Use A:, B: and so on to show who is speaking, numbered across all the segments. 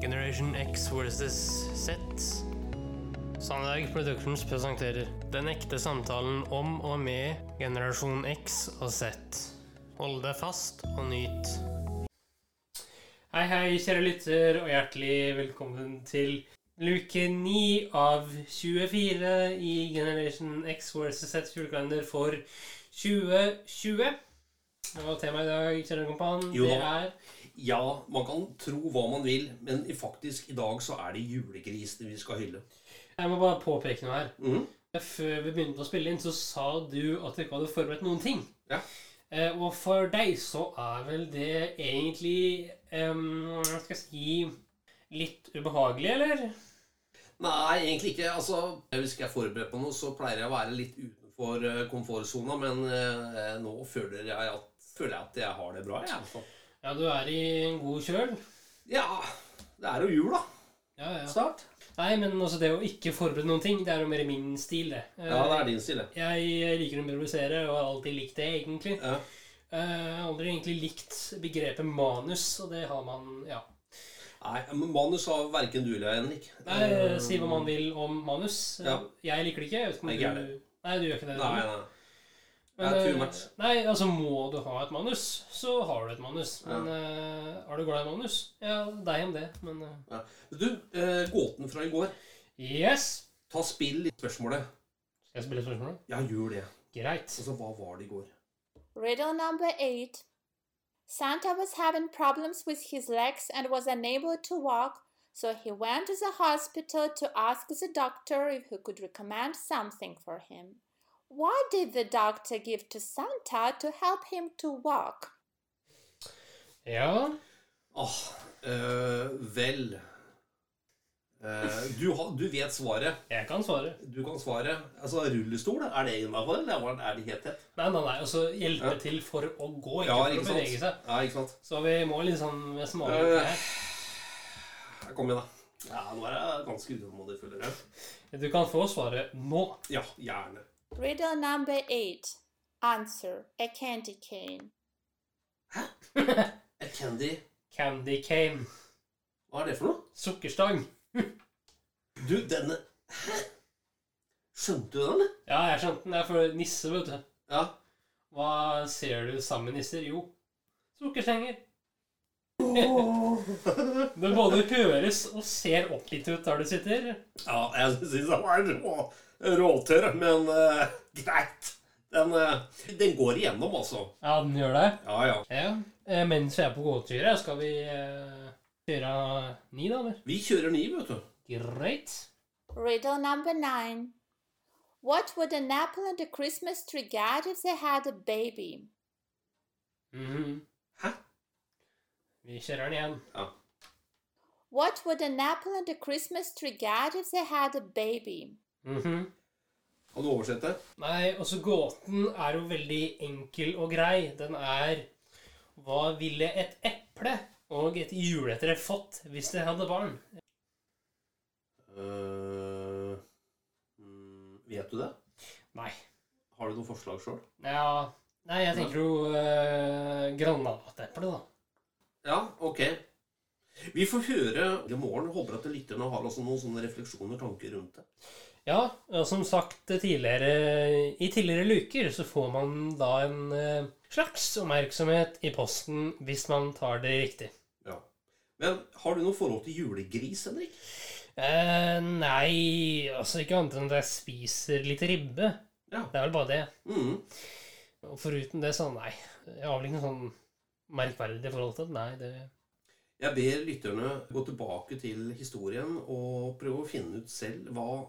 A: Generation X versus Z. Sandberg Productions presenterer Den ekte samtalen om og med generasjon X og Z. Hold deg fast og nyt. Hei, hei, kjære lytter, og hjertelig velkommen til luke 9 av 24 i Generation X versus Z julekalender for 2020. Og temaet i dag, kjære kompan,
B: Jo
A: det
B: da.
A: er
B: Ja, man kan tro hva man vil, men i- faktisk i dag så er det julegrisene vi skal hylle.
A: Jeg må bare påpeke noe her.
B: Mhm.
A: Før vi begynte å spille inn, så sa du at du ikke hadde forberedt noen ting.
B: Ja.
A: Eh, og for deg så er vel det egentlig em, Hva skal jeg si Litt ubehagelig, eller?
B: Nei, egentlig ikke. Altså, Hvis jeg er forberedt på noe, så pleier jeg å være litt utenfor eh, komfortsona, men eh, nå føler jeg, at, føler jeg at jeg har det bra, jeg. Altså.
A: Ja, du er i en god kjøl.
B: Ja, det er jo jul, da.
A: Ja, ja.
B: Snart.
A: Nei, men altså det å ikke forberede noen ting, det er jo mer min stil, det. Eh,
B: Ja, det er din stil, det.
A: Jeg liker å improvisere, og har alltid likt det, egentlig.
B: Ja.
A: Eh, Jeg har aldri egentlig likt begrepet manus, og det har man Ja.
B: Nei, men manus har verken du eller jeg, Henrik.
A: Nei,
B: Eh,
A: si hva man vil om manus.
B: Ja.
A: Jeg liker det ikke. Jeg vet ikke om
B: Nei, ikke
A: du... Nei, du gjør ikke det.
B: Nei,
A: du.
B: nei.
A: Men,
B: jeg er
A: eh,
B: too much.
A: nei, altså må du ha et manus, så har du et manus.
B: Ja.
A: Men eh, er du glad i manus? Ja, deg om det, men eh,
B: Du, eh, gåten fra i går.
A: Yes!
B: Ta spill i spørsmålet.
A: Skal jeg spille spørsmålet?
B: Ja, gjør det.
A: Greit.
B: Altså, hva var det i går?
C: Riddle number 8 Santa was having problems with his legs and was unable to walk, so he went to the hospital to ask the doctor if he could recommend something for him. What did the doctor give to Santa to help him to walk?
A: Ja.
B: Åh, eh, vel Eh, du, har- du vet svaret.
A: Jeg kan svare.
B: Du kan svaret. Altså, rullestol, er det innafor, eller var- er det helt tett?
A: Nei, nei, nei. Altså hjelpe
B: Ja.
A: til for å gå, ikke
B: Ja,
A: for
B: ikke
A: å bevege seg.
B: sant? Ja, ikke sant?
A: Så vi må liksom være smale.
B: Øh.
A: her.
B: Ja, Kom igjen, da. Ja, nå er jeg ganske utålmodig, føler jeg.
A: Du kan få svaret nå.
B: Ja, gjerne.
C: Riddle number 8 Answer A candy cane.
B: Eh, Candy,
A: Candy cane.
B: hva er det for noe?
A: Sukkerstang.
B: Du, denne Hæ? Skjønte du den, eller?
A: Ja, jeg skjønte den. Det er for nisse, vet du.
B: Ja.
A: Hva ser du sammen nisser? Jo, sukkersenger. Du både høres og ser oppgitt ut der du sitter.
B: Ja, jeg syns han var rå, råtørr, men eh, greit. Den, eh, den går igjennom, altså.
A: Ja, den gjør det.
B: Ja, ja.
A: Ja. Eh, mens vi er på gåturet, skal vi eh, kjøre ni, da? eller?
B: Vi kjører ni, vet du.
A: Greit.
C: Riddle number 9 What would an apple and a Christmas tree get if they had a baby?
A: Mhm.
B: Hæ?
A: Vi kjører den igjen.
B: Ja.
C: What would an apple and a Christmas tree get if they had a baby?
A: Mhm.
B: Kan du oversette?
A: Nei, altså gåten er jo veldig enkel og grei. Den er Hva ville et eple og et juletre fått hvis de hadde barn?
B: Eh, mm, vet du det?
A: Nei.
B: Har du noen forslag sjøl?
A: Ja Nei, jeg tenker jo uh, granateple, da.
B: Ja, ok. Vi får høre i morgen. Håper at lytterne har også noen sånne refleksjoner og tanker rundt det.
A: Ja, og som sagt tidligere I tidligere luker så får man da en eh, slags oppmerksomhet i posten hvis man tar det riktig.
B: Ja. Men har du noe forhold til julegris, Henrik?
A: Eh, nei, altså ikke annet enn at jeg spiser litt ribbe.
B: Ja.
A: Det er vel bare det.
B: Mm.
A: Og foruten det, så nei. Jeg har vel ikke noe sånn merkverdig forhold til det. Nei, det
B: Jeg ber lytterne gå tilbake til historien og prøve å finne ut selv hva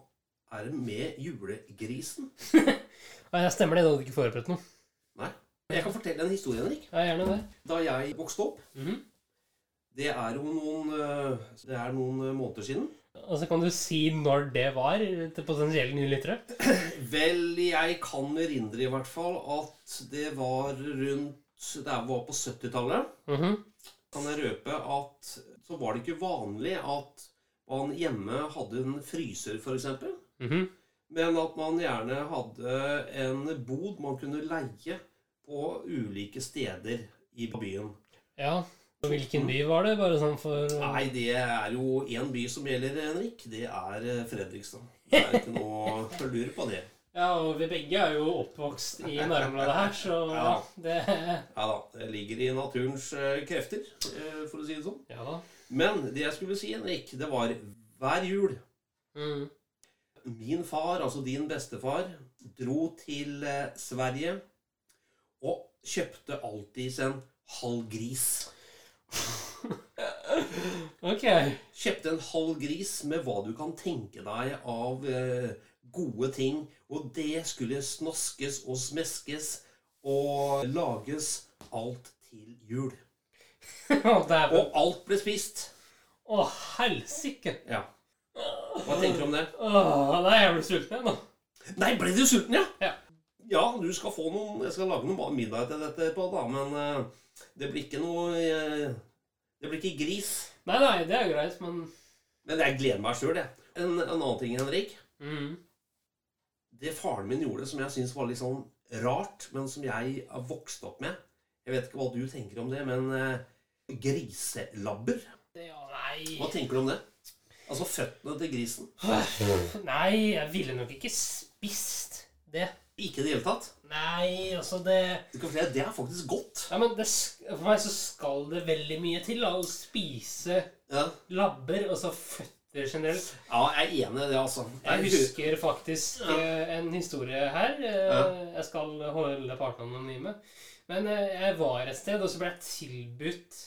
B: er det med julegrisen.
A: Nei, jeg stemmer det. Du hadde ikke forberedt noe.
B: Nei. Jeg kan fortelle en historie, Henrik.
A: Ja, gjerne det.
B: Da jeg vokste opp,
A: Mhm.
B: det er jo noen, eh, det er noen eh, måneder siden
A: Altså, Kan du si når det var til potensielle nye lyttere?
B: Vel, jeg kan erindre i hvert fall at det var rundt Det var på 70-tallet.
A: Mhm.
B: Kan jeg røpe at så var det ikke vanlig at man hjemme hadde en fryser, f.eks.
A: Mhm.
B: Men at man gjerne hadde en bod man kunne leie på ulike steder i byen.
A: Ja.
D: Og Hvilken by var det? Bare sånn for
B: Nei, det er jo én by som gjelder, Henrik. Det er eh, Fredrikstad. Det er ikke noe å lure på det.
A: Ja, og vi begge er jo oppvokst i nærområdet her, så ja. det
B: Ja da, det ligger i naturens eh, krefter, eh, for å si det sånn.
D: Ja da.
B: Men det jeg skulle si, Henrik, det var hver jul
D: Mm.
B: Min far, altså din bestefar, dro til eh, Sverige og kjøpte alltid en halv gris.
A: Ok.
B: Kjøpte en halv gris med hva du kan tenke deg av eh, gode ting. Og det skulle snaskes og smeskes og lages alt til jul.
A: Å, dæven.
B: Og alt ble spist.
A: Å, helsike.
B: Ja. Hva tenker du om det?
A: Åh, nei, jeg blir sulten igjen, da.
B: Nei, ble du sulten, ja?
A: Ja.
B: Ja, du skal få noen Jeg skal lage noe middag til dette på, da, men eh, det blir ikke noe eh, Det blir ikke gris.
A: Nei, nei, det er greit, men
B: Men jeg gleder meg sjøl, jeg. En, en annen ting, Henrik.
A: mm.
B: Det faren min gjorde som jeg syns var litt sånn rart, men som jeg har vokst opp med Jeg vet ikke hva du tenker om det, men eh, griselabber
A: det, ja,
B: Hva
A: Nei.
B: tenker du om det? Altså føttene til grisen.
A: Nei, jeg ville nok ikke spist det.
B: Ikke i det hele tatt.
A: Nei, altså det
B: Du kan fortelle, Det er faktisk godt.
A: Nei, men det, sk- For meg så skal det veldig mye til da, å spise
B: Ja,
A: labber, altså føtter generelt.
B: ja jeg er enig i det, altså.
A: Jeg
B: Jeg husker-
A: husker faktisk eh, en historie her. eh,
B: Ja.
A: Jeg skal holde partene anonyme. Men eh, jeg var et sted, og så ble jeg tilbudt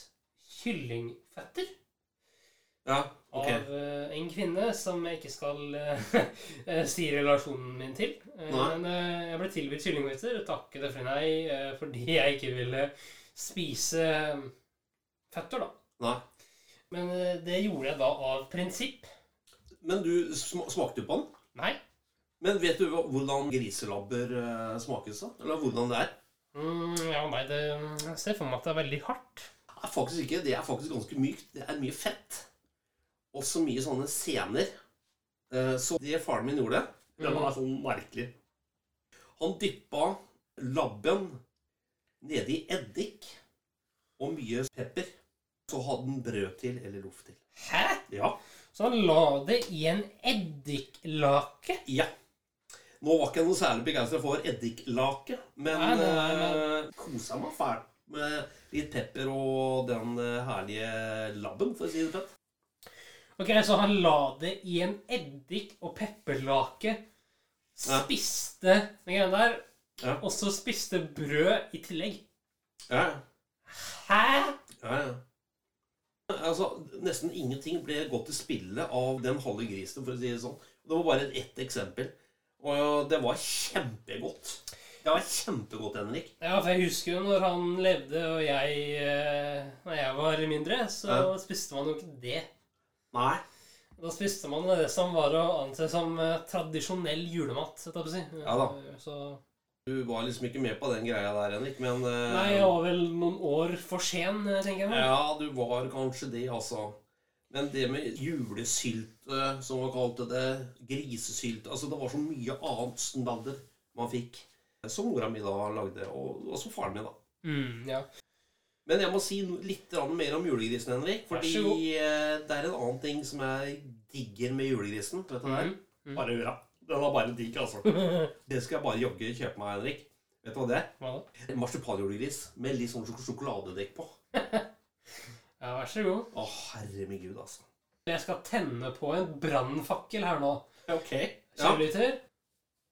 A: kyllingføtter
B: Ja, ok.
A: av eh, en kvinne som jeg ikke skal eh, si relasjonen min til. Eh,
B: Nei.
A: Men eh, jeg ble tilbudt kyllingføtter og takket for nei eh, fordi jeg ikke ville spise mm, føtter, da.
B: Nei.
A: Men eh, det gjorde jeg da av prinsipp.
B: Men du sm- smakte du på den?
A: Nei.
B: Men vet du hva- hvordan griselabber eh, smakes da? Eller hvordan det er?
A: Mm, ja, nei, det, mm, jeg ser for meg at det er veldig hardt.
B: Nei, faktisk ikke. Det er faktisk ganske mykt. Det er mye fett. Også mye sånne sener. Eh, Så det faren min gjorde,
A: Mm.
B: det var sånn merkelig. Han dyppa labben nede i eddik og mye pepper. Så hadde han brød til, eller loff til.
A: Hæ?
B: Ja.
A: Så han la det i en eddiklake?
B: Ja. Nå var ikke jeg noe særlig begeistra for eddiklake, men
A: Nei, nei, nei,
B: eh, kosa meg fælt med litt pepper og den eh, herlige labben, for å si det pent.
A: Ok, så han la det i en eddik- og pepperlake,
B: Ja.
A: spiste den greia der,
B: Ja.
A: og så spiste brød i tillegg.
B: Ja,
A: Hæ?
B: ja, ja. Altså, Nesten ingenting ble gått til spille av den halve grisen, for å si det sånn. Det var bare ett eksempel. Og det var kjempegodt. Det var kjempegodt, Henrik.
A: Ja, for jeg husker jo når han levde og jeg eh, Når jeg var mindre, så
B: Ja.
A: spiste man jo ikke det.
B: Nei.
A: Da spiste man det som var å anse som eh, tradisjonell julemat. holdt jeg på å si.
B: Ja da.
A: Så,
B: Du var liksom ikke med på den greia der, Henrik, men eh,
A: nei, jeg var vel noen år for sen, eh, tenker jeg. meg.
B: Ja, du var kanskje det, altså. Men det med julesylte, som man kalte det, grisesylte Altså, det var så mye annet snadder man fikk. Som mora mi da lagde, og, og som faren min, da.
A: Mm, ja.
B: Men jeg må si no- litt grann mer om julegrisen, Henrik.
A: Vær
B: Fordi
A: så god.
B: eh, det er en annen ting som jeg digger med julegrisen. Vet du hva det er?
A: Mhm. Mhm.
B: Bare hurra. Den er bare digg, altså. Det skal jeg bare jogge og kjøpe meg, Henrik. Vet du hva det er?
A: Hva da?
B: Marsipanjulegris med litt sånn sjok- sjokoladedekk på.
A: Ja, vær så god.
B: Å, herre min gud, altså.
A: Jeg skal tenne på en brannfakkel her nå.
B: Ok. Ja.
A: Kjørelytter,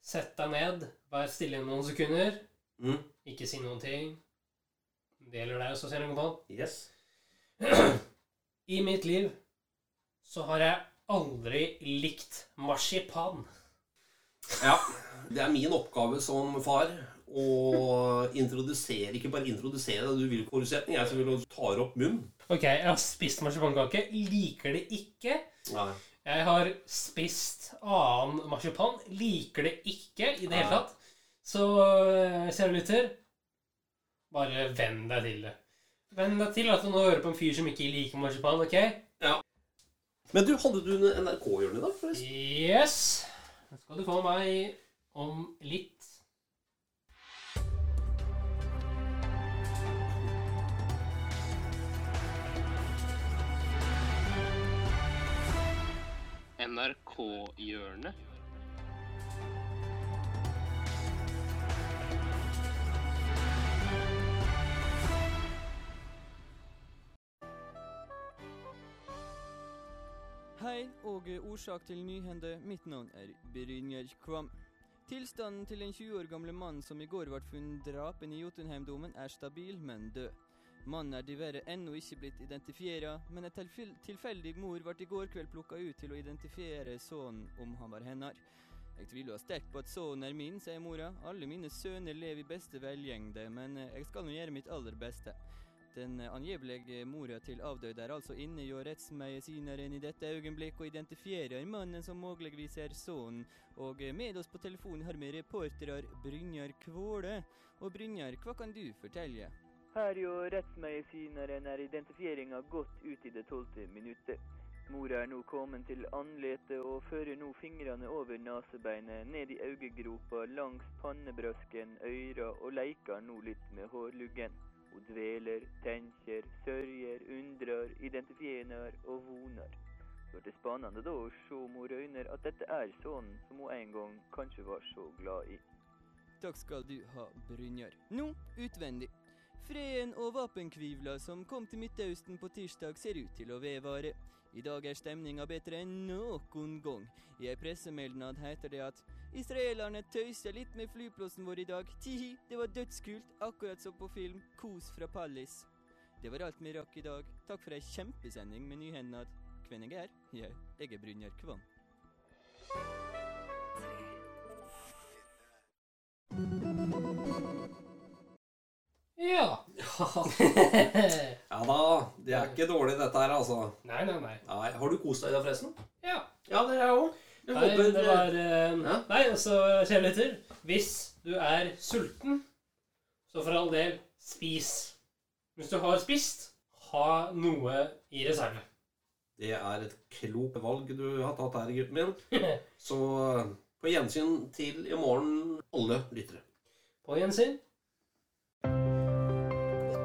A: sett deg ned. Vær stille i noen sekunder.
B: Mm.
A: Ikke si noen ting. Det gjelder deg også, Kjell Kontan.
B: Yes.
A: I mitt liv så har jeg aldri likt marsipan.
B: Ja. Det er min oppgave som far å introdusere Ikke bare introdusere, du vil ikke forutsetning. Jeg som vil ta opp munnen.
A: Ok, jeg har spist marsipankake. Liker det ikke.
B: Nei.
A: Jeg har spist annen marsipan. Liker det ikke i det hele
B: Nei.
A: tatt. Så eh, kjære lytter, bare venn deg til det. Venn deg til at du nå hører på en fyr som ikke liker marsipan, ok?
B: Men du, hadde du en NRK-hjørne i dag, forresten?
A: Yes! Da skal du få meg om litt.
E: NRK-hjørnet.
F: Hei og eh, årsak til nyhende. Mitt navn er Brynjar Kvam. Tilstanden til den 20 år gamle mannen som i går ble funnet drapen i Jotunheimdomen, er stabil, men død. Mannen er diverre ennå ikke blitt identifiert, men en tilfel- tilfeldig mor ble i går kveld plukka ut til å identifiere sønnen om han var hennes. Jeg tviler sterkt på at sønnen er min, sier mora. Alle mine sønner lever i beste velgjengde, men eh, jeg skal nå gjøre mitt aller beste. Den angivelige mora til avdøde er altså inne hjå rettsmedisineren i dette øyeblikk og identifierer mannen som muligvis er sønnen, og med oss på telefonen har vi reporterer Brynjar Kvåle. Og Brynjar, hva kan du fortelle?
G: Her jo rettsmedisineren er identifieringa godt ut i det tolvte minuttet. Mora er nå kommet til andletet og fører nå fingrene over nesebeinet, ned i øyegropa, langs pannebrøsken, øyra og leker nå litt med hårluggen. Hun dveler, tenker, sørger, undrer, identifierer og voner. Det blir spennende da å se om hun røyner at dette er sønnen som hun en gang kanskje var så glad i.
F: Takk skal du ha, Brynjar. Nå utvendig. Freden og våpenkvivla som kom til Midtøsten på tirsdag, ser ut til å vedvare. I dag er stemninga bedre enn noen gang. I ei pressemeldnad heter det at israelerne tøysa litt med flyplassen vår i dag. Tihi, det var dødskult, akkurat som på film Kos fra Pallis. Det var alt vi rakk i dag. Takk for ei kjempesending med nyhendad. Hvem jeg er? Jeg, jeg er Brynjar Kvam.
H: Ja.
B: Ja da, det er ikke dårlig dette her, altså.
H: nei, nei, nei.
B: Nei, har du kost deg da, forresten?
H: Ja.
B: Ja, det har jeg òg. Jeg
H: Nei,
B: håper
H: det var eh,
B: Ja.
H: Nei, altså, kjære lytter. Hvis du er sulten, så for all del, spis. Hvis du har spist, ha noe i reserve.
B: Det er et klokt valg du har tatt her, gutten min. Så eh, på gjensyn til i morgen, alle lyttere.
H: På gjensyn.